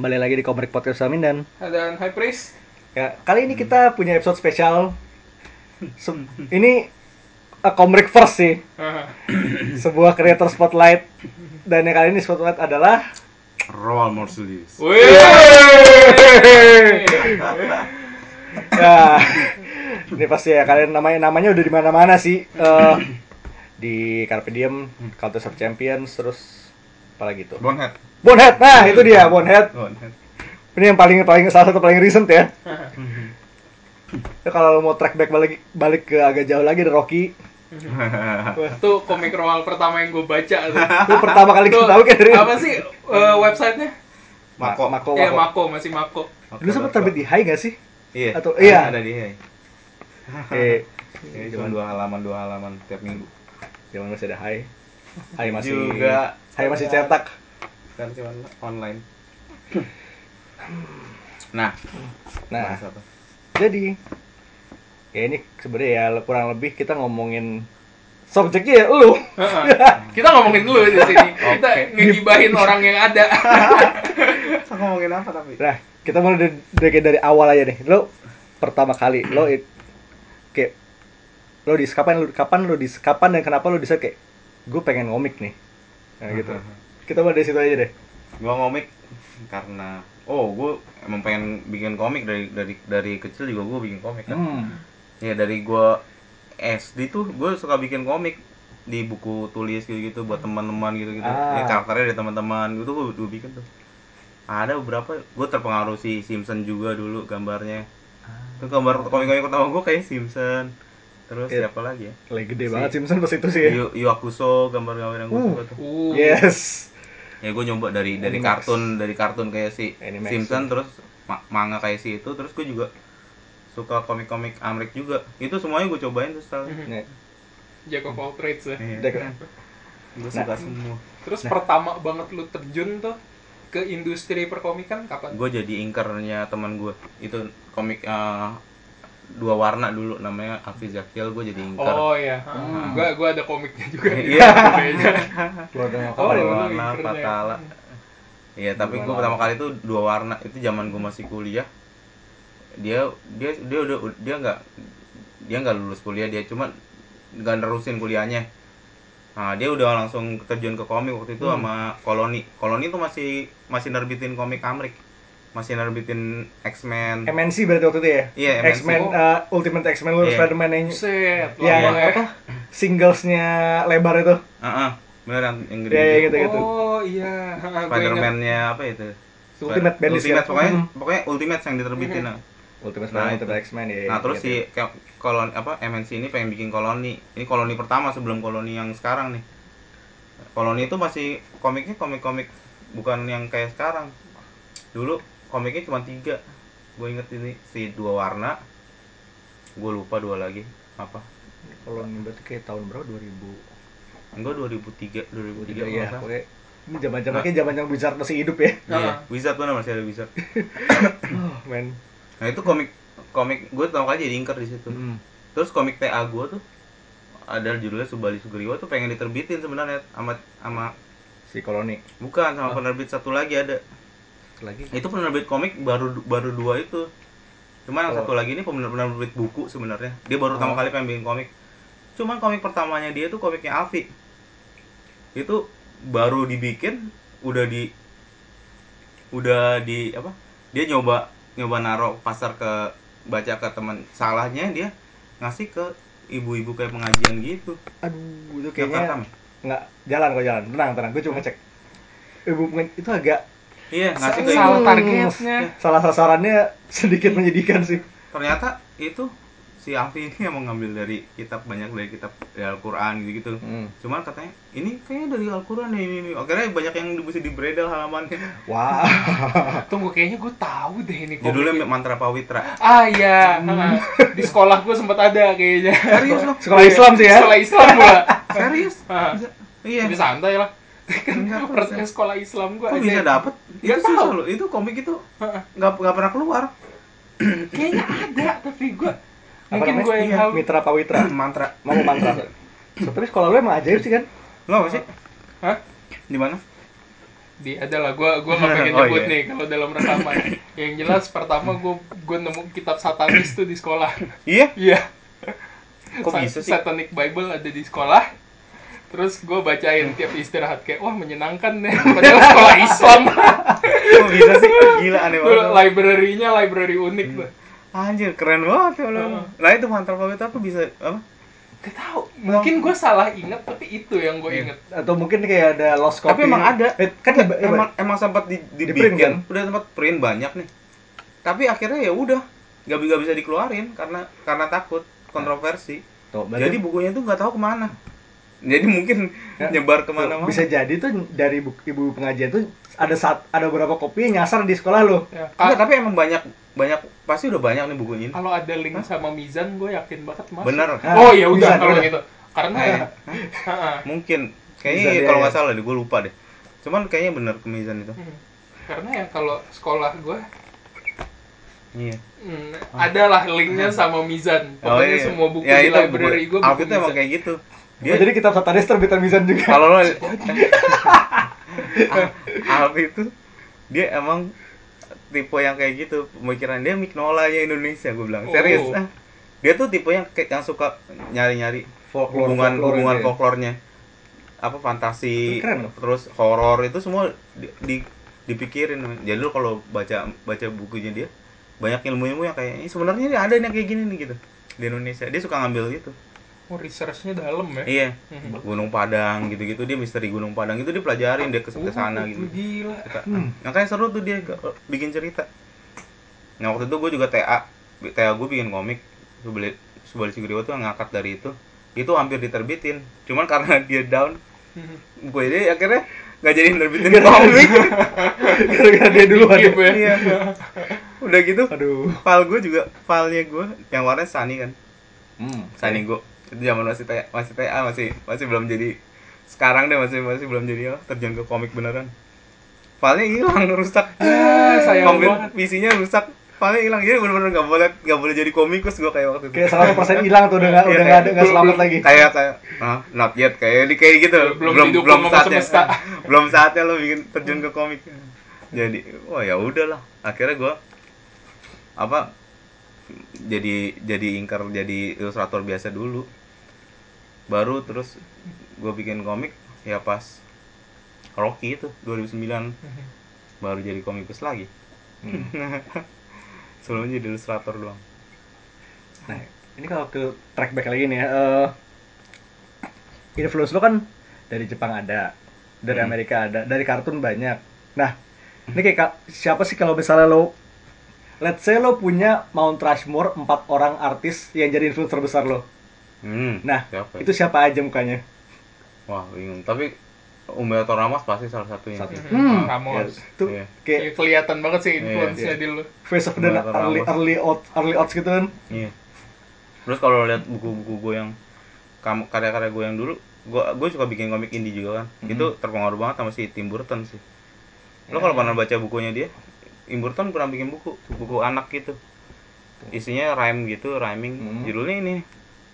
lagi di Komrek Podcast Samin dan Dan High Priest. ya, kali ini kita punya episode spesial. Se- ini uh, Komrek First sih, sebuah creator spotlight. Dan yang kali ini spotlight adalah Roal Morsulis. Wih. Iya. ya, ini pasti ya kalian namanya namanya udah di mana-mana sih. Eh, di Carpe Diem, Counter of Champions, terus apalagi itu. Bonhead. Bonhead, nah itu dia Bonhead. Bonhead. Ini yang paling paling salah satu paling recent ya. Itu Ya, kalau lo mau track back balik balik ke agak jauh lagi ada Rocky. Itu komik roal pertama yang gue baca. tuh. Itu pertama kali Itu kita tahu kan dari apa sih eh, websitenya? Ma- Iya, Mako. Mako. Ya Mako. Mako masih Mako. Dulu sempat terbit di Hai gak sih? Iya. Atau- iya. Ada di Hai. Eh, Iya, cuma dua halaman dua halaman tiap minggu. zaman masih ada Hai. Hai masih Juga. Hai masih cetak. Sekarang cuma Kan online. Nah, Nah, bahas apa? jadi ya ini sebenarnya ya kurang lebih kita ngomongin subjeknya ya lu. Heeh. Kita ngomongin dulu di sini. Kita ngegibahin orang yang ada. Kita ngomongin apa tapi? Nah, kita mulai dari, dari, dari awal aja nih. Lo pertama kali lo it- kayak lo dis kapan lo kapan lo dis kapan dan kenapa lo bisa kayak gue pengen ngomik nih. Nah, gitu. Hmm. Kita mulai dari situ aja deh. Gua ngomik karena oh gue emang pengen bikin komik dari dari dari kecil juga gue bikin komik kan. Ya dari gua SD tuh gue suka bikin komik di buku tulis gitu-gitu buat teman-teman gitu-gitu. Ah. Ya karakternya dari teman-teman gitu gue gue bikin tuh. Ada beberapa gue terpengaruh si Simpson juga dulu gambarnya. Ah. Itu gambar komik-komik pertama gue kayak Simpson. Terus Iya. siapa lagi ya? Lagi gede Si- Iya. banget Simpson pas itu sih. ya. Yu, Yu Hakusho gambar-gambar yang gue Uh. suka tuh. Uh. Yes. Ya gue nyoba dari dari Animax. kartun dari kartun kayak si Animax. Simpson terus ma- manga kayak si itu terus gue juga suka komik-komik Amrik juga. Itu semuanya gue cobain Iya. terus. setelah- Nih, Jack of all trades ya. Dek. Gue suka semua. Terus pertama banget lu terjun tuh ke industri perkomikan kapan? Gue jadi inkernya teman gue. Itu komik eh, dua warna dulu namanya Alfi Zakil gue jadi inker. Oh iya. Heeh. Gua gua ada komiknya juga. Iya. keluar dari apa Oh, iya. dua ya? lu warna inkernya. Fatala. Iya, tapi Dua gue warna. pertama kali itu dua warna itu zaman gue masih kuliah. Dia dia dia udah dia nggak dia nggak lulus kuliah dia cuman nggak nerusin kuliahnya. Nah, dia udah langsung terjun ke komik waktu itu Hmm. sama Koloni. Koloni itu masih masih nerbitin komik Amrik. Masih nerbitin X-Men. MNC berarti waktu itu ya. Iya, MNC. X-Men eh, Ultimate X-Men lu Iya. Spider-Man yang Buset, ya, lama ya. apa? Singlesnya lebar itu. Heeh, bener yang, yang Ya, ya, gede-gede. gitu. Oh iya, Heeh, gua ingat. Spider-Man-nya apa itu? Ultimate Bandits, Ultimate, ya? Mm-hmm. pokoknya, Mhm. pokoknya Ultimate yang diterbitin. lah. Ultimate Nah, Spider-Man, itu. Ultimate X-Men ya. Nah, terus gitu. si ke- kolon apa MNC ini pengen bikin koloni. Ini koloni pertama sebelum koloni yang sekarang nih. Koloni itu masih komiknya komik-komik bukan yang kayak sekarang. Dulu komiknya cuma tiga. Gue inget ini si dua warna. Gue lupa dua lagi apa. kalau ini berarti kayak tahun berapa? 2000 Enggak Tiga ya, 2003, 2003 kalau nggak salah. pokoknya ini zaman-zaman kayak zaman-zaman Blizzard masih hidup ya. Iya, Ah. Wizard mana masih ada Wizard. Oh, men. Nah, itu komik komik gue tau kali jadi inker di situ. Terus komik TA gue tuh ada judulnya Subali Sugriwa tuh pengen diterbitin sebenarnya sama sama Si koloni. bukan sama penerbit satu lagi ada. Satu Lagi. Itu penerbit komik baru baru dua itu. Cuma yang Oh. satu lagi ini pener- penerbit buku sebenarnya. Dia baru Oh. pertama kali pengen bikin komik. Cuman komik pertamanya dia tuh komiknya Alfi. Itu baru dibikin udah di udah di apa? Dia nyoba nyoba naruh pasar ke baca ke teman. Salahnya dia ngasih ke ibu-ibu kayak pengajian gitu. Aduh, itu Jakarta, kayaknya men. nggak jalan kok jalan. Tenang, tenang. Gue cuma ngecek. Ibu pengen- itu agak Hmm. Iya, ngasih ke ibu. Salah targetnya. salah sasarannya sedikit menyedihkan sih. ternyata itu si Alfi ini emang ngambil dari kitab banyak dari kitab dari Al-Qur'an gitu gitu. Hmm. Cuman katanya ini kayaknya dari Al-Qur'an nih, ini, ini. Akhirnya banyak yang bisa di bredel halamannya. Wah. Tunggu kayaknya gue tahu deh ini Judulnya komiknya. Mantra Pawitra. Ah iya, Heeh. di sekolah gue sempat ada kayaknya. Serius lo? Sekolah Islam sih ya. Sekolah Islam gua. Serius? Ah. Bisa- Iya. Tapi santai lah. Enggak, kok Pertanyaan bisa. sekolah Islam gue Kok bisa dapet? Nggak Itu susah tahu. loh. Itu komik itu Heeh. nggak nggak pernah keluar. Kayaknya ada tapi gue Apa mungkin namanya? gue yang Iya, tahu. Mitra Pawitra. Mantra. Mau mantra. So, Tapi sekolah lu emang ajaib sih kan? Lo apa sih? Hah? Di mana? di adalah gua gua nggak pengen Oh, nyebut iya. nih kalau dalam rekaman yang jelas pertama gua gua nemu kitab satanis tuh di sekolah Iya? iya Kok Sa- bisa sih? satanic bible ada di sekolah terus gua Hmm. bacain tiap istirahat kayak wah menyenangkan nih padahal sekolah Islam Kok bisa sih? Gila aneh Tuh, banget. library-nya library unik tuh Hmm. Anjir, keren banget ya Heeh. Allah. Lah itu mantra pabit aku bisa apa? Gak tau, mungkin gue salah inget tapi itu yang Iya. gue inget atau mungkin kayak ada lost copy Tapi emang ada. Eh, kan Nggak, eh, emang emang sempat di, Di-print, dibikin, kan? udah sempat print banyak nih. Tapi akhirnya ya udah nggak bi- nggak bisa dikeluarin karena karena takut kontroversi. tuh, Nah. berarti- Jadi bukunya tuh nggak tahu kemana. Jadi mungkin Ya, nyebar tuh, kemana-mana. bisa jadi tuh dari bu- ibu pengajian tuh ada saat ada beberapa kopi yang nyasar di sekolah lo ya, Enggak, ka- Ah, tapi emang banyak banyak pasti udah banyak nih buku ini. Kalau ada link sama Mizan gue yakin banget masuk Bener. Ah, Oh ya Mizan, udah kalau udah. gitu Karena Eh, ya ha-ha. Mungkin Bisa ya. kayaknya deh. kalau nggak salah deh, gue lupa deh. Cuman kayaknya bener kemisan itu. Hmm. Karena ya kalau sekolah gue Iya. hmm, adalah linknya sama Mizan Pokoknya iya. semua buku Ya, di itu library buku- gue buku Alvin tuh emang Mizan kayak gitu. Dia Oh, jadi kitab satanis terbitan Mizan juga kalau lo Alfi itu dia emang tipe yang kayak gitu pemikiran dia Mignolanya Indonesia gue bilang serius Oh. ah. dia tuh tipe yang kayak yang suka nyari-nyari Folklore- hubungan folklore hubungan dia. folklornya apa fantasi Itu keren loh. terus horor itu semua di, di- dipikirin jadi lu kalau baca baca bukunya dia banyak ilmu-ilmu yang kayak ini sebenarnya ini ada yang kayak gini nih gitu di Indonesia dia suka ngambil gitu Oh researchnya dalam ya Iya. Mhm. Gunung Padang gitu-gitu dia misteri Gunung Padang itu dia pelajarin dia ke ke sana Oh, gitu. Gila Kita- Hmm. Makanya seru tuh dia ke- bikin cerita. Nah, waktu itu gue juga TA. Bi- TA gue bikin komik. Sebeli Subali Sugriwa tuh ngangkat dari itu. Itu hampir diterbitin. Cuman karena dia down, Mhm. gue jadi akhirnya nggak jadi nerbitin komik. gara-gara dia duluan Dikip ya. Iya. Udah gitu, aduh file gue juga filenya gue yang warnanya Sunny kan. hmm. Sunny Go itu zaman masih TA, masih TA masih masih belum jadi sekarang deh masih masih belum jadi apa, terjun ke komik beneran filenya hilang rusak Ah, sayang banget. visinya rusak filenya hilang jadi bener-bener nggak boleh nggak boleh jadi komikus gua kayak waktu itu kayak 100% hilang tuh udah nggak Iya, udah nggak kayak- ada- nggak selamat lagi kayak kayak ah, not yet kayak di kayak gitu Belum didukung sama semesta. belum saatnya lo bikin terjun ke komik jadi wah ya udahlah akhirnya gua apa jadi jadi ingkar jadi ilustrator biasa dulu baru terus gue bikin komik ya pas Rocky itu 2009 Mhm. baru jadi komikus lagi Hmm. sebelumnya jadi ilustrator doang Nah, ini kalau ke track back lagi nih ya. eh, influence lo kan dari Jepang ada, dari Hmm. Amerika ada, dari kartun banyak. Nah, ini kayak ka- siapa sih kalau misalnya lo Let's say lo punya Mount Rushmore empat orang artis yang jadi influencer besar lo. hmm, Nah, siapa ya? itu siapa aja mukanya? Wah bingung. Tapi Umberto Ramos pasti salah satunya. Satu. Mhm. Hmm. Ramos Tuh Ya, Iya. kayak kelihatan banget sih Iya. influence-nya di lu face of the Umberto early Ramos. early odds early odds gitu kan. Iya. Terus kalau lihat buku-buku gue yang kam- karya-karya gue yang dulu, gue gue suka bikin komik indie juga kan. Mhm. Itu terpengaruh banget sama si Tim Burton sih. Lo kalau pernah baca bukunya dia, Tim Burton pernah bikin buku, buku anak gitu. Isinya rhyme gitu, rhyming. Mhm. Judulnya ini.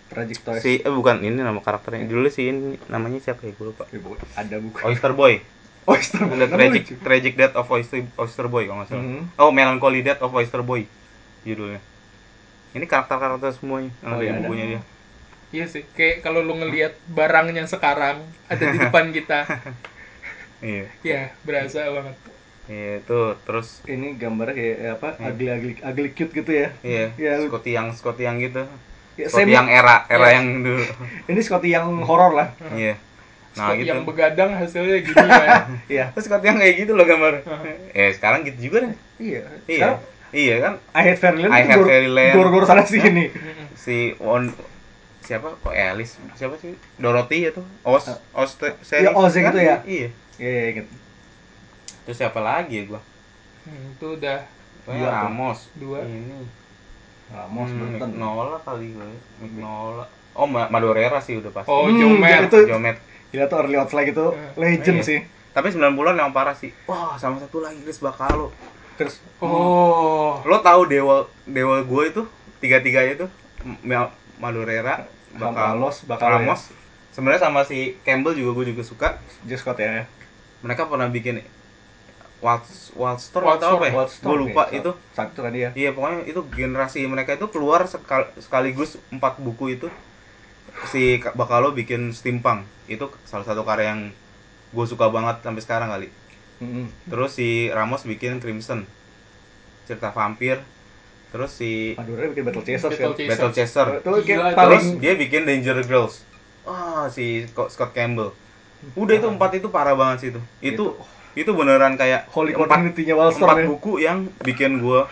Tragic Toys. Si eh bukan ini nama karakternya. Judulnya si ini namanya siapa ya? Gue lupa. Eh, bu- ada buku. Oyster Boy. Oyster Boy. Nama The Oh, Tragic lucu. Tragic Death of Oyster, Oyster Boy kalau nggak salah. Mhm. Oh, Melancholy Death of Oyster Boy judulnya. Ini karakter-karakter semuanya yang Oh, ada di iya, ada. bukunya dia. Iya sih, kayak kalau lu ngelihat barangnya sekarang ada di depan kita, Iya. ya berasa banget. Iya, itu terus Ini gambarnya kayak eh, apa? Iya. Ugly ugly ugly cute gitu ya. iya, Iya, lu- Scotty yang Scotty yang gitu. Ya, Scotty same- yang era era Iya. yang dulu. ini Scotty yang horor lah Iya. Nah, Scott gitu. yang begadang hasilnya gini kan. iya Terus Scotty yang kayak gitu loh gambar. Eh, sekarang gitu juga deh. iya Iya. Iya kan I hate Fairyland I itu Hate gor- Fairyland. gor-gor sana sini Hmm, si Won siapa kok Alice siapa sih Dorothy itu Oz Oz te- series Oz yang kan? itu ya? iya iya iya inget terus siapa lagi ya gua Hmm, itu udah Dua Pokoknya tuh. Ramos Dua. ini Ramos Hmm, Burton Mignola kali gue. Mignola. Oh, Ma- Madorera sih udah pasti. Oh, Hmm, Jomet. itu Jomet. gila tuh early odds lagi tuh Iya. legend Iya. sih Tapi 90-an yang parah sih. Wah, sama satu lagi Chris Bakalo. terus hmm, Oh, Lo tahu dewa dewa gue itu tiga-tiganya tuh Ma- Madorera, Bakalo, Bakalos Bakalos Ramos. Sebenarnya sama si Campbell juga gue juga suka. Just Scott ya Mereka pernah bikin Watts Watster Watts atau apa ya? Watch Gue Dogs lupa nih, itu. satu tadi ya Iya pokoknya itu generasi mereka itu keluar sekal- sekaligus empat buku itu si Ka- Bakalo bikin steampunk itu salah satu karya yang gue suka banget sampai sekarang kali. Mm-mm. Terus si Ramos bikin Crimson cerita vampir. Terus si Madura bikin Battle Chasers kan Battle Chasers. Battle Chester. itu kayak Gila, paling Terus dia bikin Danger Girls. Ah, si Co- Scott Campbell. Udah itu empat itu parah banget sih itu. Itu itu beneran kayak Iya. holy empat, community-nya Wallstorm empat ya. buku yang bikin gua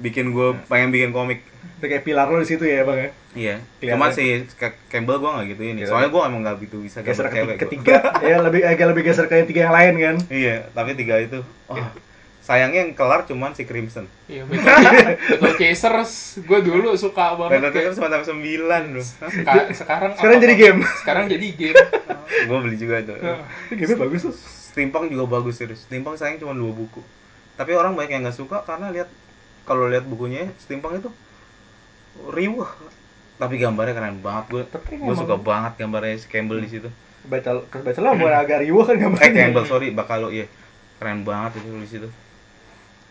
bikin gua Iya. pengen bikin komik. Itu kayak pilar lo di situ ya bang ya Iya. Kelihatan. Cuma si Scott Campbell gua nggak gituin. ya. Kelihatan. Soalnya gua emang nggak gitu bisa geser gambar ke cewek. gua. ketiga ya lebih agak lebih geser ke yang tiga yang lain kan Iya, tapi tiga itu. Wah, sayangnya yang kelar cuman si Crimson. Iya, Battle, Battle Chasers gue dulu suka Oh, banget. Battle kayak- Chasers cuma sampai sembilan loh. Hah? Seka- sekarang Sekarang apa- jadi game. Sekarang jadi game. Gua beli juga itu. Ini game bagus tuh Steampunk juga bagus serius. Steampunk sayang cuma dua buku. Tapi orang banyak yang nggak suka karena lihat kalau lihat bukunya Steampunk itu riuh. Tapi gambarnya keren banget gue. Tapi Gue emang- suka banget gambarnya si Campbell di situ. baca baca lo bukan agak riuh kan Eh gambarnya Campbell sorry Bakalo iya. Keren banget itu di situ.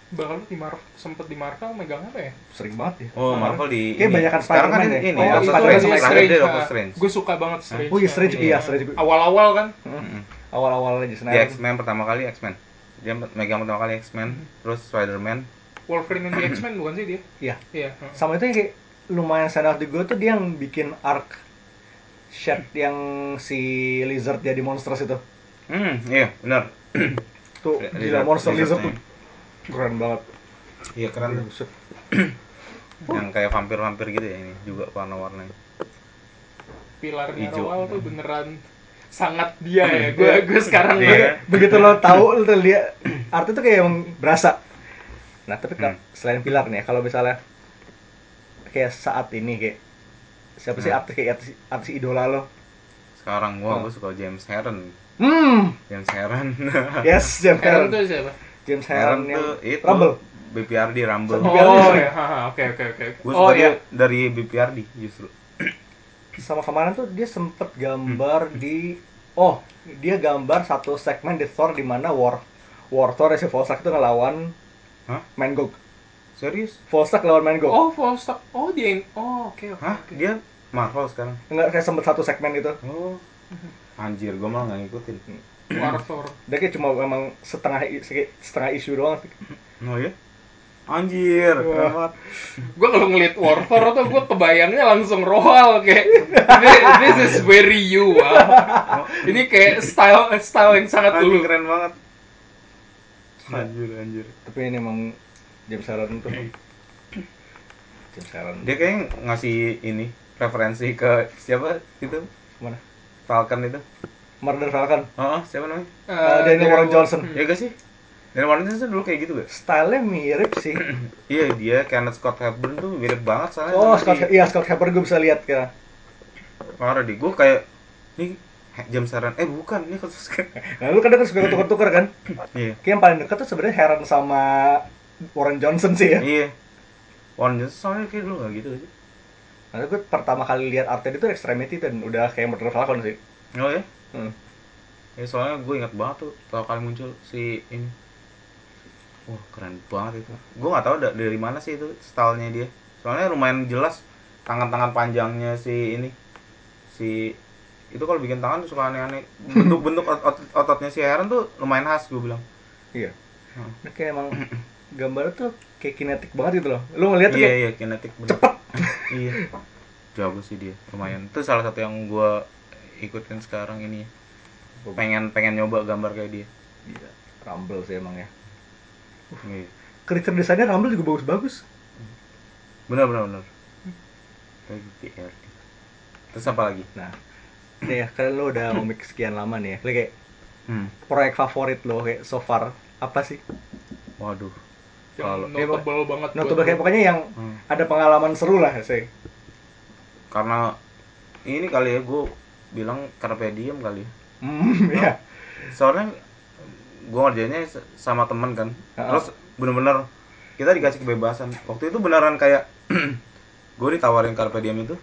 Bakal lu di Mar sempet di Marvel megang apa ya? sering banget ya Oh Marvel di. Kayak banyakan Sekarang kan Spider-Man ya. ini Oh, Doctor itu Strange. ada Sekarang Strange, dia Doctor Strange. Gue suka banget Strange. Oh iya, Strange, Iya. iya, Strange. Awal-awal kan. Mm-mm. awal-awal aja Di sebenarnya Iya, X-Men pertama kali X-Men. Dia megang pertama kali X-Men, terus Spider-Man. Wolverine and the X-Men bukan sih dia? iya Iya. sama itu yang kayak lumayan stand out di gue tuh dia yang bikin arc Shed yang si lizard jadi monsters itu Hmm, iya benar. tuh gila Lizard- monster lizard, lizardnya. tuh keren banget Iya keren tuh. Buset. yang kayak vampir-vampir gitu ya ini juga warna-warnanya Pilar Ijo. awal tuh beneran sangat dia ya. Hmm. Gue gue sekarang Iya. begitu lo tahu lo lihat artinya tuh kayak emang berasa nah tapi kalau- Hmm. selain pilar nih ya, kalau misalnya kayak saat ini kayak siapa sih Hmm. artis kayak artis, artis idola lo sekarang Oh. gua gua suka James Heron hmm James Heron yes James Heron Heron tuh siapa? James Heron Heron yang tuh itu Rumble BPRD Rumble Biar Oh dia. iya, Ha, ha, oke oke oke. gua suka Oh dia iya. dari BPRD justru sama kemarin tuh dia sempet Hmm. gambar di oh dia gambar satu segmen di Thor di mana War War Thor si Volstagg itu ngelawan Hah? Mangog serius Volstagg lawan Mangog Oh, Vostok. Oh, dia yang Oh, oke oke. hah oke. dia Marvel sekarang enggak kayak sempet satu segmen itu oh Mm-hmm. anjir gua malah nggak ngikutin Warthor. dia kayak cuma memang setengah i- se- setengah isu doang oh ya anjir keren banget gue kalau ngeliat Warthor tuh gue kebayangnya langsung rohal kayak "This- this is very you wow. Oh, ini kayak style style yang sangat anjir dulu keren banget anjir anjir tapi ini emang James Heron tuh James Heron dia kayaknya ngasih ini referensi ke siapa itu mana Falcon itu Murder Falcon oh siapa namanya Eh, Uh, Daniel Warren Johnson Hmm. Ya gak sih? Dan Warren Johnson dulu kayak gitu gak? stylenya mirip sih Iya dia, Kenneth Scott Hepburn tuh mirip banget soalnya oh sama Scott si- iya Scott Hepburn gue bisa lihat ya Parah deh, gue kayak Nih, jam saran, eh bukan, ini Scott Scott nah lu kadang kan suka tuker-tuker kan Iya, Kayak yang paling dekat tuh sebenarnya Heron sama Warren Johnson sih ya. iya Warren Johnson soalnya kayak dulu gak gitu gak sih? Nah, gue pertama kali lihat artnya itu Extremity dan udah kayak Murder Falcon sih. Oh ya? Hmm. Ya soalnya gue ingat banget tuh, pertama kali muncul si ini Wah keren banget itu Gue gak tau da- dari mana sih itu stylenya dia Soalnya lumayan jelas tangan-tangan panjangnya si ini Si itu kalau bikin tangan tuh suka aneh-aneh bentuk-bentuk ot- ot- ototnya si Heron tuh lumayan khas gue bilang Iya. Hmm. Nah, kayak emang gambarnya tuh kayak kinetik banget gitu loh. Lu ngeliat tuh iya kayak iya kinetik bener. cepet iya jago sih dia lumayan itu salah satu yang gua ikutin sekarang ini pengen pengen nyoba gambar kayak dia Gila, Rumble sih emang ya. Iya. Creature desainnya Rumble juga bagus-bagus. bener bener bener Kayak GPR. terus apa lagi Nah, Iya, nih ya, kalian lo udah ngomik sekian lama nih ya. Lu kayak hmm. proyek favorit lo kayak so far apa sih? waduh yang kalau notable banget Nah, buat tuh kayak gua. pokoknya yang Hmm. ada pengalaman seru lah sih. karena ini kali ya gua bilang karena diem kali ya Hmm, ya. soalnya gua ngerjainnya s- sama temen kan Ha-ha. terus bener-bener kita dikasih kebebasan waktu itu beneran kayak gue ditawarin karpe diem itu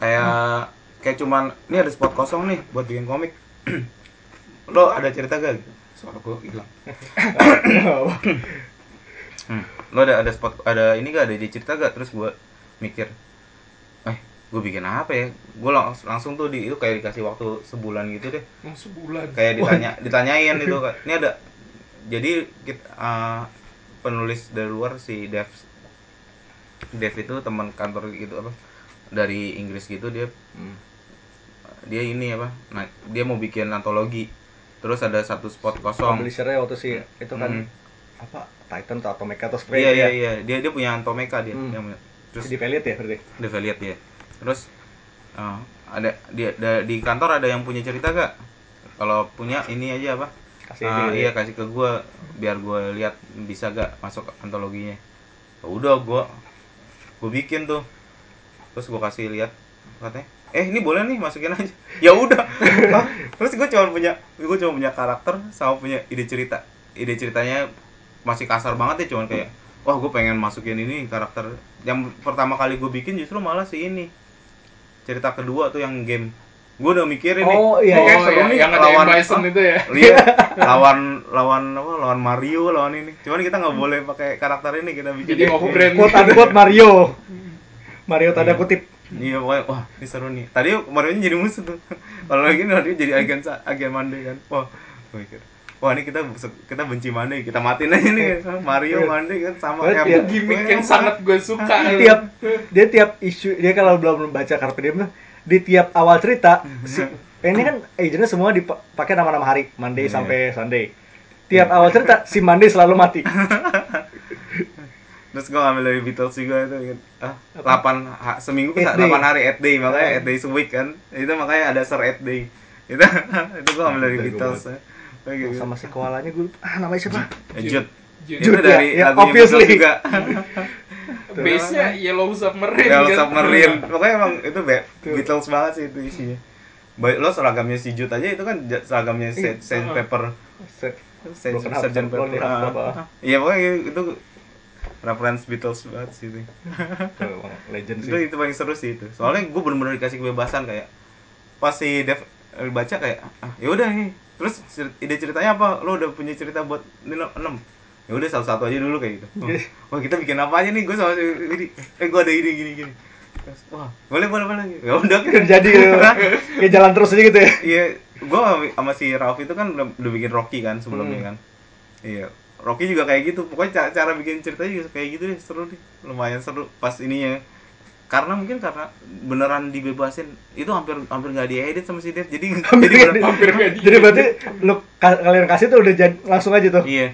kayak kayak cuman ini ada spot kosong nih buat bikin komik lo ada cerita gak gitu suara gue hilang Hmm. Lo ada ada spot ada ini gak ada ide cerita gak? Terus gue mikir, eh gue bikin apa ya? Gue langsung langsung tuh di itu kayak dikasih waktu sebulan gitu deh. Hmm, sebulan Kayak ditanya ditanyain itu. Ini ada jadi kita, eh, penulis dari luar si Dev Dev itu teman kantor gitu apa dari Inggris gitu dia Hmm. dia ini apa? Nah, dia mau bikin antologi. Terus ada satu spot kosong. publishernya waktu sih itu kan Hmm. apa Titan atau Mecha atau Spray Iya iya ya. iya dia dia punya Antomeka dia. Hmm. Dia punya. Terus Jadi valid ya berarti. udah lihat ya terus eh, ada di, da- di kantor ada yang punya cerita gak kalau punya ini aja apa Kasih Eh, ini gitu iya ya. kasih ke gua biar gua lihat bisa gak masuk antologinya Ya udah gua gua bikin tuh terus gua kasih lihat katanya eh ini boleh nih masukin aja ya udah Hah? terus gua cuma punya gua cuma punya karakter sama punya ide cerita ide ceritanya masih kasar banget ya cuman kayak wah gue pengen masukin ini karakter yang pertama kali gue bikin justru malah si ini cerita kedua tuh yang game gue udah mikirin nih Oh, iya, "Oke, iya. Oh, seru iya, nih yang ada lawan M. Bison ah, itu ya. Iya, lawan lawan apa? Lawan Mario, lawan ini. Cuman kita nggak boleh pakai karakter ini kita bikin. jadi off brand Quote unquote Mario. Mario tanda kutip. Iya, pokoknya wah, ini seru nih. Tadi Mario nya jadi musuh tuh. Kalau lagi ini Mario jadi agen sa- agen Mande kan. Wah, gue mikir. Wah, ini kita bus- kita benci Mande, kita matiin aja nih. Mario Mande kan sama Berarti kayak- ya, gimmick yang sangat gue suka Iya. Dia tiap dia tiap isu dia kalau belum membaca kartu diem tuh di tiap awal cerita si, eh, ini kan agennya semua dipakai nama-nama hari Monday Iya. sampai Sunday tiap awal cerita si Monday selalu mati Terus gue ngambil dari Beatles juga itu ingat. Ah, Apa? 8 ha- seminggu kan Eight day. 8 hari 8 day, makanya 8 days a week kan. Itu makanya ada Sir 8 day. Itu itu gue ngambil dari Betul, Beatles. ya. Kayak gitu. sama si koalanya gue lupa. ah namanya siapa Eh, Jude. Jude. Itu Jude, ya, dari ya, lagunya obviously. Beatles juga. base nya Yellow Submarine Del kan? Submarine. Pokoknya emang itu be- Beatles banget sih itu isinya. Baik lo seragamnya si Jude aja itu kan ja- seragamnya Saint, Saint Pepper. Set. Saint, Broken Heart, Saint Sergeant Pepper. Lonely Heart, Ah, apa. ah. Iya pokoknya itu reference Beatles banget sih itu. Tuh, emang legend itu sih itu paling seru sih itu soalnya gue bener-bener dikasih kebebasan kayak pas si Dev eh, baca kayak ah, ya udah nih terus cer- ide ceritanya apa lo udah punya cerita buat Nino enam ya udah satu-satu aja dulu kayak gitu wah kita bikin apa aja nih gue sama si ini eh gue ada ide gini gini Terus, wah boleh boleh boleh ya udah jadi gitu. ya jalan terus aja gitu ya Iya, gua sama si Ralph itu kan udah, udah bikin Rocky kan sebelumnya Hmm. kan. Iya, Rocky juga kayak gitu. Pokoknya ca- cara, bikin ceritanya juga kayak gitu deh, seru deh. Lumayan seru pas ininya. Karena mungkin karena beneran dibebasin itu hampir hampir nggak diedit sama si Dev. Jadi hampir jadi bener- hampir nggak di- jadi berarti lu ka- kalian kasih tuh udah jadi, langsung aja tuh gitu. Iya.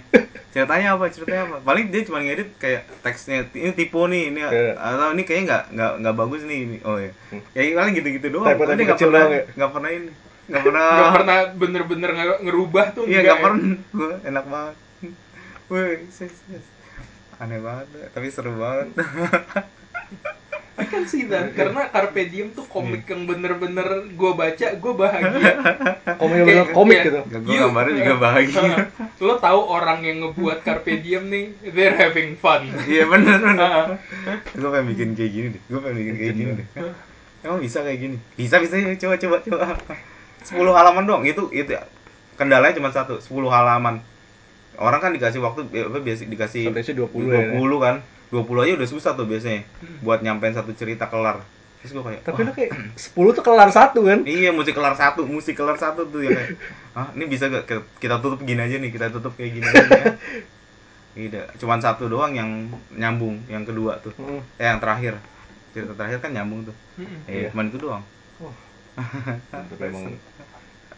Ceritanya apa? Ceritanya apa? Paling dia cuma ngedit kayak teksnya ini tipu nih, ini Iya. Hmm. atau ini kayaknya nggak nggak nggak bagus nih ini. Oh iya. Kayak paling gitu-gitu doang. Typo-typo Tapi nggak kecil pernah doang ya? nggak pernah ini. Nggak pernah Nggak pernah bener-bener nge- ngerubah tuh Iya nggak gak ya. pernah Gue enak banget Wih sis, sis. Aneh banget Tapi seru banget I can see that karena Carpe Diem tuh Iya. komik yang bener-bener gue baca gue bahagia komik Kayak- Iya, komik kayak- gitu Gue gambarnya juga bahagia lo tahu orang yang ngebuat Carpe Diem nih they're having fun Iya bener bener Ah, Gue pengen bikin kayak gini deh Gue pengen bikin kayak gini deh Emang bisa kayak gini? Bisa bisa ya. coba coba coba 10 halaman doang itu itu kendalanya cuma satu 10 halaman orang kan dikasih waktu bi- apa biasa dikasih Satu isi 20 ya, 20 kan 20 aja udah susah tuh biasanya buat nyampein satu cerita kelar terus gue kayak tapi lu kayak 10 tuh kelar satu kan Iya, musik kelar satu, musik kelar satu tuh yang kayak, ah ini bisa gak Kita- kita tutup gini aja nih, kita tutup kayak gini aja. nih, ya." Tidak, cuman satu doang yang nyambung, yang kedua tuh, Hmm. eh yang terakhir, cerita terakhir kan nyambung tuh, eh Iya. cuman itu doang. Wah. Tapi emang-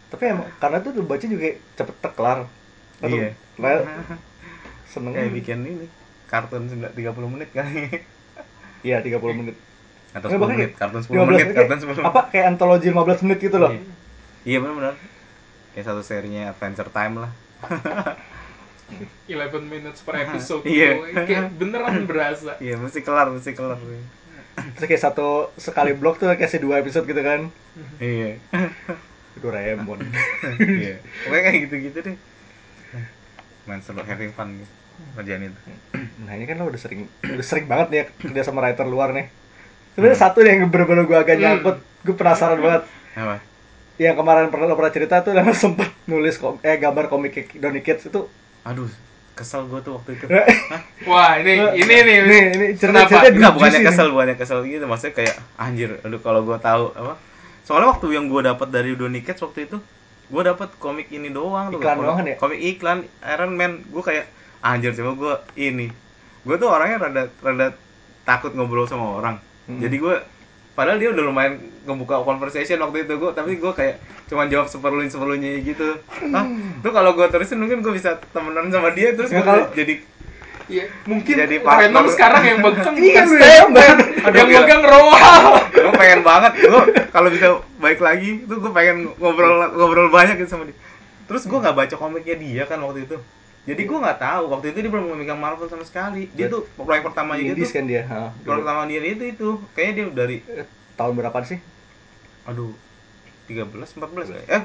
tapi emang karena tuh lu baca juga cepet teklar Iya. seneng Kayak bikin ini kartun 9 30 menit kali. iya 30 menit Atau Nggak, bahkan 10 menit, kayak kartun 10 menit, kayak- kartun 10 menit. apa kayak antologi 15 menit gitu loh Iya. Iya benar-benar. Kayak satu serinya Adventure Time lah. 11 minutes per episode Iya. tuh, kayak beneran berasa Iya, mesti kelar, mesti kelar. Iya. terus kayak satu sekali blok tuh kayak dua episode gitu kan Iya. Doraemon Iya. Pokoknya kayak gitu-gitu deh. Main seru having fun gitu. Kerjaan itu. nah ini kan lo udah sering udah sering banget nih ya kerja sama Hmm. writer luar nih sebenarnya satu yang bener-bener gue agak nyangkut gue penasaran banget Apa? yang kemarin pernah lo pernah cerita tuh dan sempet nulis kom eh gambar komik Donny Kids itu Aduh, kesel gue tuh waktu itu. Wah, ini ini nih. Nih, ini cerita- Kenapa? cerita- Enggak, Jijik bukannya sih. kesel, bukannya kesel gitu. Maksudnya kayak anjir, aduh kalau gue tahu apa. Soalnya waktu yang gue dapat dari Donny Cates waktu itu, gue dapat komik ini doang tuh. Iklan komik- doang ya? Komik iklan Iron Man. Gue kayak anjir cuma gue ini. Gue tuh orangnya rada rada takut ngobrol sama orang. Hmm. Jadi gue padahal dia udah lumayan ngebuka conversation waktu itu gue tapi gue kayak cuma jawab seperluin seperlunya gitu Hah? tuh kalau gue terusin mungkin gue bisa temenan sama dia terus Ya, gue Hmm. kalau- jadi Iya, mungkin Jadi Venom partner. sekarang yang Iya, megang bukan lu yang Stan, megang. Iya. Aduh, yang gila. megang Roal. gue pengen banget gue kalau bisa baik lagi tuh gue pengen ngobrol ngobrol banyak gitu sama dia terus gue nggak baca komiknya dia kan waktu itu jadi gue nggak tahu waktu itu dia belum memegang Marvel sama sekali dia tuh proyek pertamanya dia Indies tuh kan dia ha, proyek dulu. pertama dia itu itu kayaknya dia dari Eh, tahun berapa sih aduh 13 14 kali eh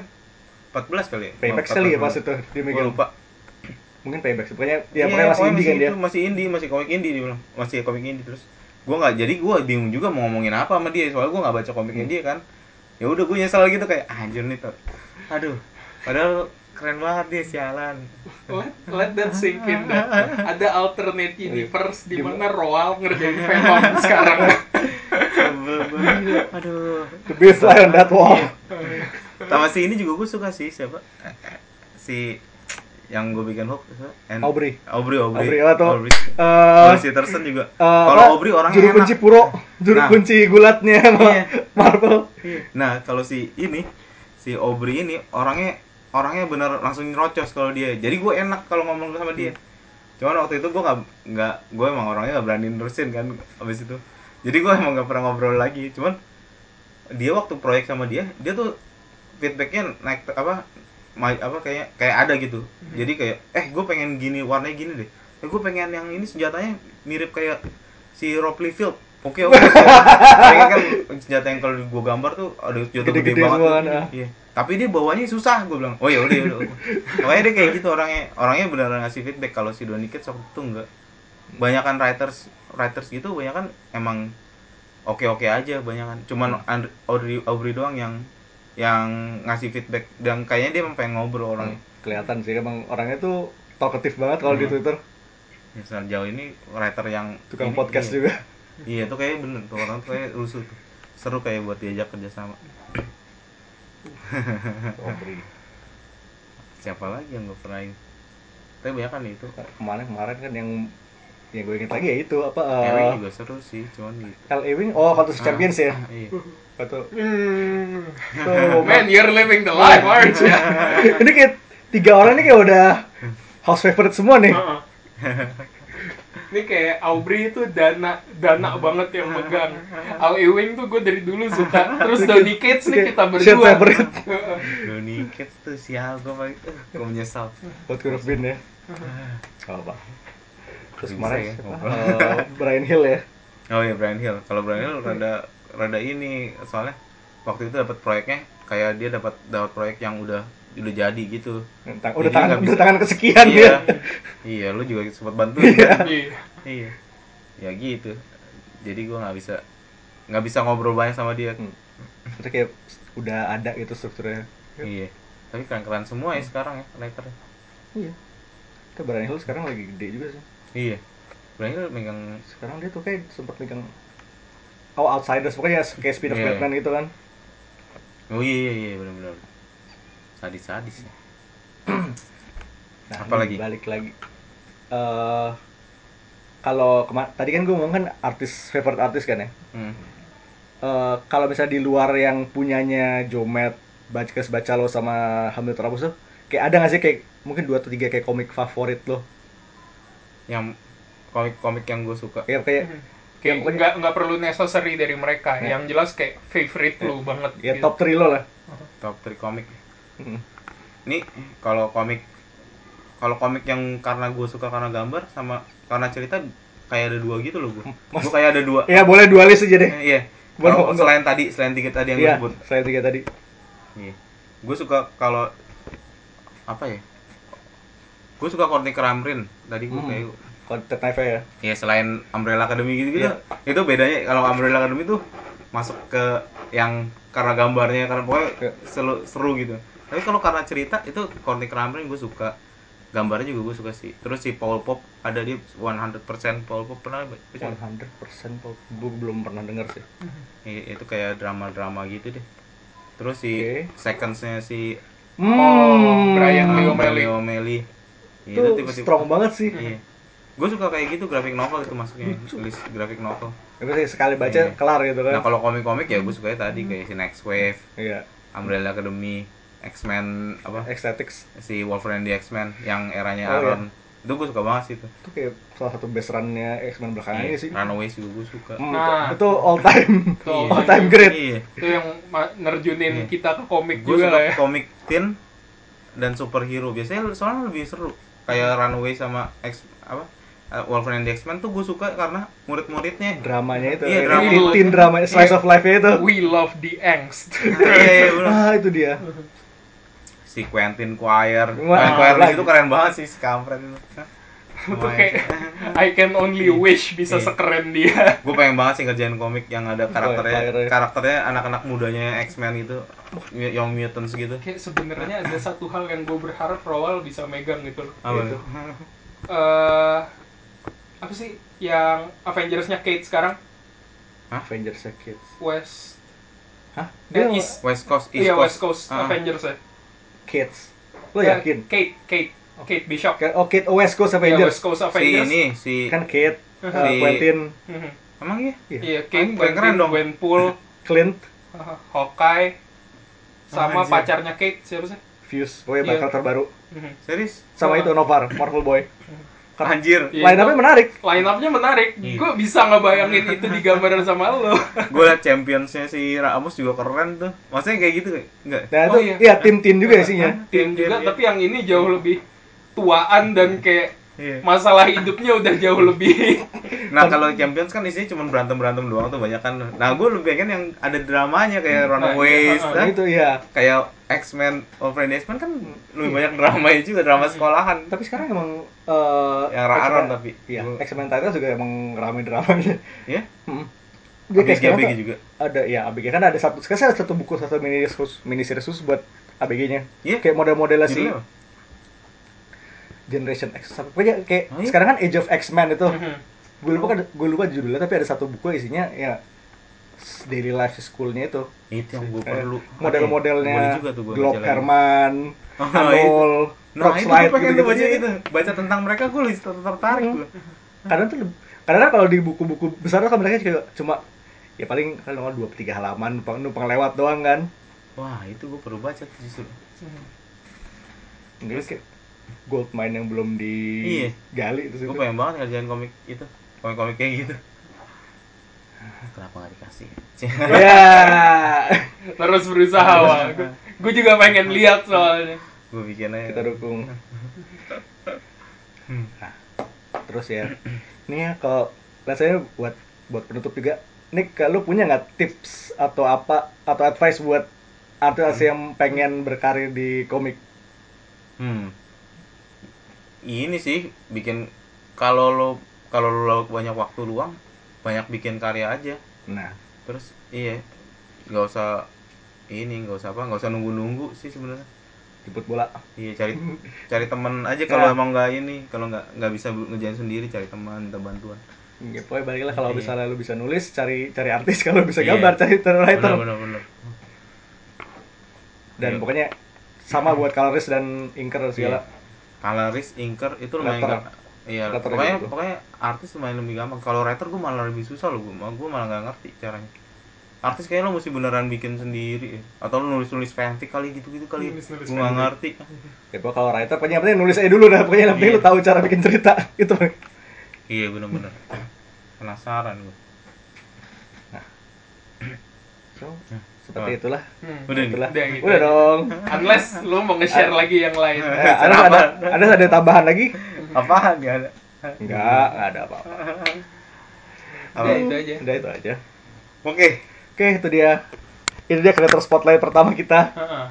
14 kali ya payback Gua- kali ya 14. pas itu dia Gua megang lupa mungkin payback sih. pokoknya Iya, ya pokoknya masih pokoknya indie kan dia itu, masih indie masih komik indie dia bilang masih komik indie terus gue nggak jadi gue bingung juga mau ngomongin apa sama dia soalnya gue nggak baca komiknya Hmm. dia kan ya udah gue nyesel gitu kayak anjir nih tuh aduh padahal keren banget dia sialan What? Oh, Let that sink in. dah. Ada alternate universe di Gimana? mana Roal ngerjain Venom sekarang. Sebel banget. aduh the best line on that Iya. wall sama si ini juga gue suka sih siapa si yang gue bikin hook siapa? And- Aubrey. Aubrey Aubrey Aubrey apa tuh? Aubrey Eh, Aubrey Sitterson juga eh, apa? kalau Aubrey orangnya juru enak. kunci puro juru Nah. kunci gulatnya Iya. Marvel Nah, kalau si ini si Aubrey ini orangnya orangnya bener langsung nyerocos kalau dia. Jadi gue enak kalau ngomong sama dia. Cuman waktu itu gue nggak nggak gue emang orangnya nggak berani nerusin kan abis itu. Jadi gue emang nggak pernah ngobrol lagi. Cuman dia waktu proyek sama dia, dia tuh feedbacknya naik apa ma- apa kayak kayak ada gitu. Hmm. Jadi kayak eh gue pengen gini warnanya gini deh. Eh gue pengen yang ini senjatanya mirip kayak si Ropley Field. Oke oke. Pengen kan senjata yang kalau gue gambar tuh ada senjata gede, Gede-gede banget. semua, tuh. nah. Iya. Tapi dia bawanya susah gue bilang. Oh ya udah ya udah. Makanya dia kayak gitu orangnya. Orangnya beneran ngasih feedback kalau si Donny Kids waktu itu enggak. Banyakan writers writers gitu banyakan emang oke-oke aja banyakan. Cuman Hmm. And- Audrey Aubrey doang yang yang ngasih feedback dan kayaknya dia emang pengen ngobrol orangnya. Hmm. kelihatan sih emang orangnya tuh talkative banget kalau di Hmm. Twitter Ya, sejauh ini writer yang tukang ini- podcast iya. juga Iya tuh kayaknya bener tuh orang tuh kayak rusuh tuh. Seru kayak buat diajak kerjasama. Aubrey Siapa lagi yang gue pernah ini? Tapi banyak kan itu. kemarin kemarin kan yang yang gue inget lagi ya itu apa eh, Ewing juga seru sih, cuman gitu. L. Ewing oh Contest Champions ya Ah, Iya. Kata- Hmm. Ah. Tuh, Man, you're living the life, aren't you? ini kayak tiga orang ini kayak udah house favorite semua nih. Ah. Heeh. Ini kayak Aubrey itu dana dana banget yang megang. Al Ewing tuh gue dari dulu suka. Terus Donny Cates nih kita Shit berdua. favorite. Heeh. Donny Kids tuh sial gue paling gue menyesal. Buat could have been ya. Gak apa. Terus Ah. Bisa kemarin ya, siapa? ngobrol. Eh, Brian Hill ya. Oh iya Brian Hill. Kalau Brian Hill rada rada ini soalnya waktu itu dapat proyeknya kayak dia dapat dapat proyek yang udah udah jadi gitu. Tang- udah Jadi tangan nggak udah bisa. tangan kesekian Kan iya. dia. Iya, lu juga sempat bantuin. kan? Iya. iya. Ya gitu. Jadi gue nggak bisa nggak bisa ngobrol banyak sama dia. Hmm. Itu kayak udah ada gitu strukturnya. Iya. Tapi keren-keren semua ya sekarang ya writernya. Iya. Tapi Brian Hill sekarang lagi gede juga sih. Iya. Brian Hill megang Sekarang dia tuh kayak sempat megang Oh, outsiders pokoknya kayak spin of Iya. Batman gitu kan. Oh iya iya iya benar-benar. Sadis-sadis ya. Nah, Apa ini lagi? Balik lagi. Eh kalau kema- tadi kan gue ngomong kan artis favorite artis kan ya. Hmm. Eh kalau misalnya di luar yang punyanya Jomet, Bajkes Bacalo sama Hamid Rabus tuh, kayak ada nggak sih kayak mungkin dua atau tiga kayak komik favorit lo? Yang komik-komik yang gue suka. Kayak kayak Hmm. Kayak Yang pokoknya- nggak nggak perlu necessary dari mereka. Iya. Yang jelas kayak favorite lu banget. ya gitu. top 3 lo lah. Top 3 komik. Mm. Ini kalau komik kalau komik yang karena gue suka karena gambar sama karena cerita kayak ada dua gitu loh gue. Mas- Gue kayak ada dua. Ya boleh dua list aja deh. Eh, Iya. Buat- Kalau buat- selain tadi selain tiga tadi yang gue Iya, sebut. saya tiga tadi. Iya. Gue suka kalau apa ya? Gue suka Kornik Ramrin. Tadi gue Hmm. kayak Content Knife ya. Ya selain Iya, Umbrella Academy gitu gitu. Iya. Itu bedanya kalau Umbrella Academy tuh masuk ke yang karena gambarnya karena pokoknya Ke- seru, seru gitu tapi kalau karena cerita itu Courtney Cramer gue suka gambarnya juga gue suka sih terus si Paul Pop ada di 100% Paul Pop pernah Iya, baca 100% Paul Gue belum pernah denger sih Iya, itu kayak drama-drama gitu deh terus si Oke. secondsnya si hmm, Brian ah, Lee Leo O'Malley. Brian O'Malley. Iya, Itu strong banget sih iya gue suka kayak gitu grafik novel itu masuknya list grafik novel Itu sih sekali baca Iya. kelar gitu kan nah kalau komik-komik ya gue sukanya tadi Hmm. kayak si Next Wave Iya Umbrella Academy X-Men apa Aesthetics si Wolverine di X-Men yang eranya Oh, Aaron itu gue suka banget sih itu Itu kayak salah satu best run-nya X-Men Iya. belakangan ini Ah, iya sih Runaways juga gue suka Hmm, Nah. Itu all time Itu all All time time great iya itu yang ma- nerjunin Iya. kita ke komik gue juga suka lah ya komik teen dan superhero biasanya soalnya lebih seru Hmm. kayak Runaway sama X apa eh, Wolverine di X-Men tuh gue suka karena murid-muridnya Dramanya itu Iya, ya. drama. Teen- Teen drama Slice Iya. of life-nya itu we love the angst Iya, iya, bener. Ah itu dia si Quentin Quire Wah, Quentin Quire di lagi. situ keren banget sih si kampret itu itu kayak I can only Iya. wish bisa Iya. sekeren dia gue pengen banget sih ngerjain komik yang ada karakternya Quire. karakternya anak-anak mudanya X-Men itu Young Mutants gitu kayak sebenarnya ada satu hal yang gue berharap Rowal bisa megang gitu loh apa Itu. itu Eh, apa sih yang Avengers-nya Kate sekarang Avengers ya, Kids West Hah? eh, Dia East West Coast East iya West Coast Coast Ah. Avengers ya Kids Lo Eh, yakin? Kate Kate Kate Bishop Kayak- Oh Kid, oh West Coast Iya, Avengers West Coast si Avengers ini si Kan Kid, Mhm. uh, Quentin, Mhm. emang ya Iya. iya Kate iya, Keren Quentin dong. Gwenpool Clint, Haha, Hawkeye sama Anjir. pacarnya Kate siapa sih? Fuse Pokoknya Iya. bakal terbaru Mhm. serius Sama Wah. itu Novar, Marvel Boy Keren. anjir Iya. Lain apa menarik Line up-nya menarik. Iya. Gue bisa ngebayangin itu digambarin sama lo. gue liat championsnya si Ramos juga keren tuh maksudnya kayak gitu enggak Nah itu, Oh, iya. iya tim-tim juga isinya Tim iya, juga, tapi yang ini jauh lebih tuaan dan kayak Iya. masalah hidupnya udah jauh lebih nah kalau champions kan isinya cuma berantem berantem doang tuh banyak kan nah gue lebih pengen yang ada dramanya kayak Runaways iya, Nah kan? itu iya kayak X-Men Wolverine X-Men kan lebih banyak dramanya juga drama sekolahan Tapi sekarang emang eh, Yang Ra-Ron X-Men- tapi. Iya, Gua- X-Men Titans juga emang rame dramanya ya Hmm. Dia kayak abg sekarang abg tuh juga ada ya ABG kan ada satu sekarang ada satu buku satu mini series khusus, mini series khusus buat ABG-nya. Iya. Kayak model-modelnya sih Judulnya apa? Generation X. Apa aja kayak Oh, iya? sekarang kan Age of X-Men itu. Mm-hmm. Gue lupa kan- gua lupa judulnya tapi ada satu buku isinya ya s- daily life school-nya itu. itu yang gue Eh, perlu Oh, Boleh model-modelnya juga tuh gua Glob baca lagi. Herman, Oh, Anol, nah Rock itu gue Slide pengen tuh baca gitu-gitu. gitu. itu baca tentang mereka gue tertarik gue Kadang tuh leb- kadang kan kalau di buku-buku besar tuh kan mereka juga cuma ya paling kalau nggak dua per tiga halaman numpang, numpang lewat doang kan. wah itu gue perlu baca tuh justru Gitu. Ini kayak gold mine yang belum digali terus gue itu. pengen banget ngerjain komik itu komik-komik kayak gitu kenapa gak dikasih Ya. terus berusaha. Iya. Gue juga pengen lihat soalnya. gue bikin aja kita dukung. Hmm. Nah, terus ya. Ini ya kalau rasanya buat buat penutup juga. Nih kalau punya nggak tips atau apa atau advice buat artis yang pengen berkarir di komik? Hmm. Ini sih bikin kalau lo kalau lo banyak waktu luang, banyak bikin karya aja. Nah, Terus iya, nggak usah ini, nggak usah apa, nggak usah nunggu-nunggu sih sebenarnya. jemput bola. Iya cari cari teman aja Ya. kalau emang nggak ini, kalau nggak nggak bisa bu- ngejain sendiri cari teman minta bantuan. Ya, pokoknya balik lah kalau Iya. misalnya lu bisa nulis, cari cari artis kalau bisa Iya. gambar, cari Bener writer. bener bener. Dan Iya. pokoknya sama buat kaloris dan inker segala. Coloris, inker itu lumayan Letter. gam- Iya, Letter pokoknya gitu. pokoknya artis lumayan lebih gampang. Kalau writer gue malah lebih susah loh, gue gue malah nggak ngerti caranya. Artis kayaknya lo mesti beneran bikin sendiri ya. Atau lo nulis-nulis fanfic kali gitu-gitu kali. Nulis-nulis Gue nggak fanfic. ngerti. Ya pokoknya kalau writer pokoknya yang penting nulis aja dulu dah, pokoknya yang penting Iya. lu tahu cara bikin cerita itu. Iya bener-bener. Penasaran gue. So, Iya. seperti itulah. Hmm. Udah nih. Itulah. Udah gitu Udah aja. dong. Unless lo mau nge-share lagi yang lain. Eh, ada ada ada ada tambahan lagi? Iya. Apaan ya ada? Enggak, enggak ada apa-apa. Apa? Udah itu aja. Udah itu aja. Oke. Oke, itu dia. Itu dia creator spotlight pertama kita. Heeh.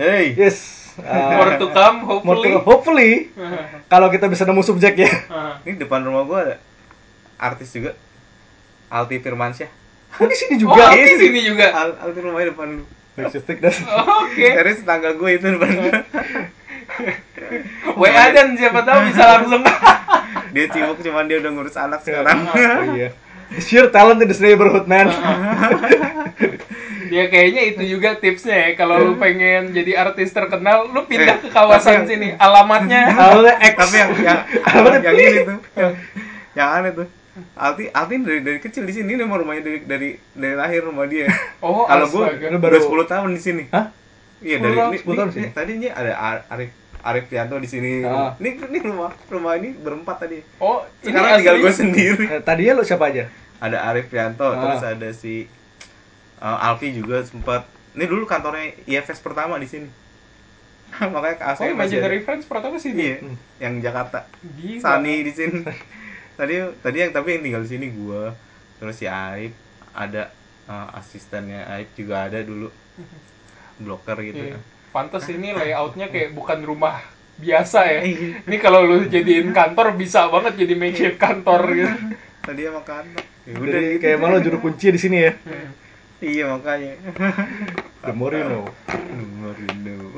Hey. Yes. Uh, More to come more hopefully. to- hopefully Heeh. kalau kita bisa nemu subjeknya. Heeh. Ini depan rumah gue ada artis juga. Alti Firmansyah. Oh, di sini Oh, juga. Alti sini juga. Al Al tuh rumahnya depan lu. Backstreet dan Oh, Oke. Terus tanggal gue itu depan gua. WA dan siapa tahu bisa langsung. Dia sibuk cuman dia udah ngurus anak sekarang. Oh, iya. It's your talent in this neighborhood, man. Ya kayaknya itu juga tipsnya ya kalau lu pengen jadi artis terkenal, lu pindah Eh, ke kawasan tapi yang- sini. Alamatnya Awalnya X. Eh, Tapi yang yang Apa tuh? yang ini tuh. Yang, yang aneh tuh. Alti, Alti dari, dari kecil di sini memang rumahnya dari dari dari lahir rumah dia. Oh, kalau gue astaga. Lu baru baru- 10 tahun di sini. Hah? Iya 10 dari tahun, ini, 10 tahun di sini. Tadi ini ada Ar- Arif Arif Tianto di sini. Ah. Ini ini rumah rumah ini berempat tadi. Oh, Sekarang tinggal gue asli. sendiri. Eh, Tadinya lu siapa aja? Ada Arif Prianto, Ah. terus ada si uh, Alfi juga sempat. Ini dulu kantornya IFS pertama di sini. Makanya Oh, keasnya masih ada. imaginary friends pertama sih Iya, gitu. dia. yang Jakarta. Gila. Sani di sini. tadi tadi yang tapi yang tinggal di sini gua, terus si Arif ada uh, asistennya Arif juga ada dulu. Bloker gitu. Iya. Pantes ini layoutnya kayak bukan rumah biasa ya. Iya. Ini kalau lu jadiin kantor bisa banget jadi makeshift kantor gitu. Tadi emang kantor. Ya udah Jadi gitu. kayak malu juru kunci di sini ya. Iya makanya. The more you know. Nomor dulu.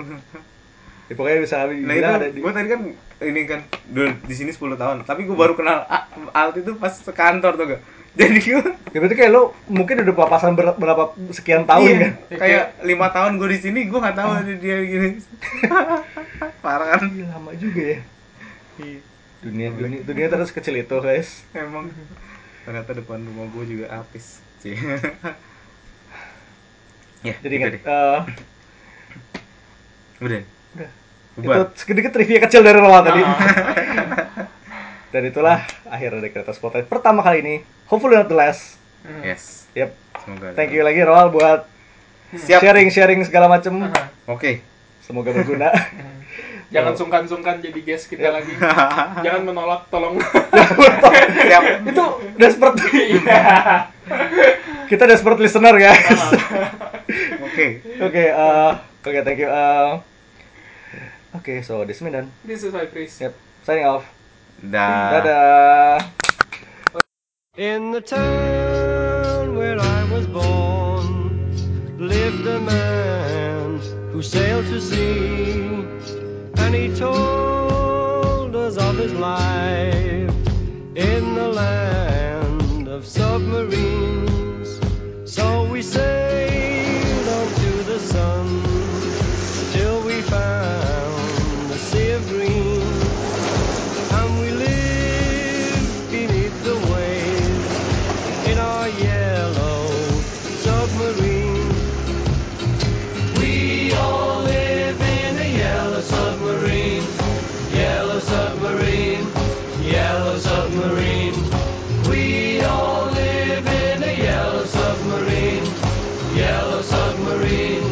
Ya, pokoknya bisa habis Nah itu, bilang ada di gue tadi kan ini kan dulu di sini 10 tahun, tapi gue baru kenal A- Alt itu pas sekantor tuh gak. Jadi gue Ya, berarti kayak lo mungkin udah papasan ber- berapa sekian tahun iya, kan? kayak lima tahun gue di sini gue nggak tahu ada dia gini. Parah kan? Iya, lama juga ya. Iya, Dunia dunia dunia terus kecil itu, guys. emang ternyata depan rumah gue juga artis. Cie. ya, Jadi udah ingat deh. eh, Udah. udah. Bubar. Itu sedikit trivia kecil dari Rola Iya. tadi. Ah, Dan itulah akhir dari kereta spotlight pertama kali ini. Hopefully not the last. hmm. Yes. Yep. Semoga. ada. Thank you lagi Roal buat Siap. Oke. sharing-sharing segala macem. Ah, Semoga berguna. hmm. Jangan sungkan-sungkan jadi guest kita lagi. Jangan menolak, tolong. Siap. Itu desperate. Iya. Kita desperate listener guys. Oke. Oke, eh, oke thank you. eh. Oke, so this is Mindan. This is my priest. Yep. Signing off. Dah. Dadah. In the town where I was born lived a man who sailed to sea, and he told us of his life in the land of submarines. So we sailed on to the sun till we found the sea of green and we live beneath the waves in our yellow submarine. We all live in a yellow submarine, yellow submarine, yellow submarine. We all live in a yellow submarine, yellow submarine,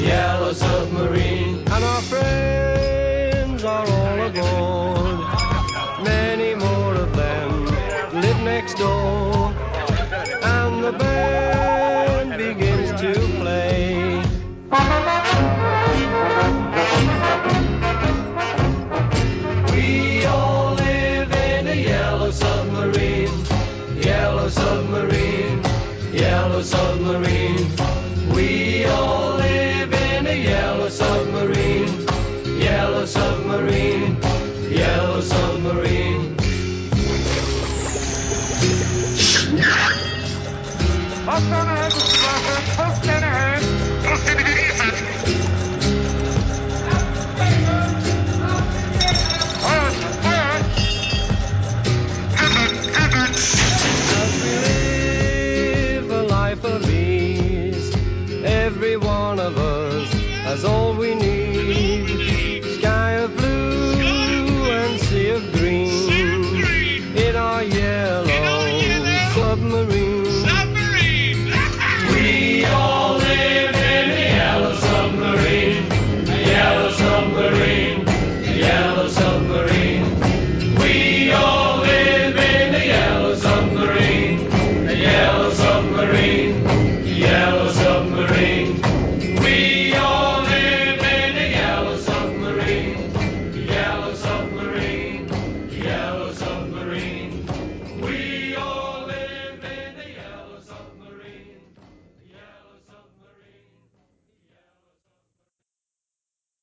yellow submarine. And our friends are all aboard. Many more of them live next door. And the band begins to play. We all live in a yellow submarine, yellow submarine, yellow submarine. We all live in a yellow submarine, yellow submarine, yellow submarine. As we live a life of ease, every one of us has all we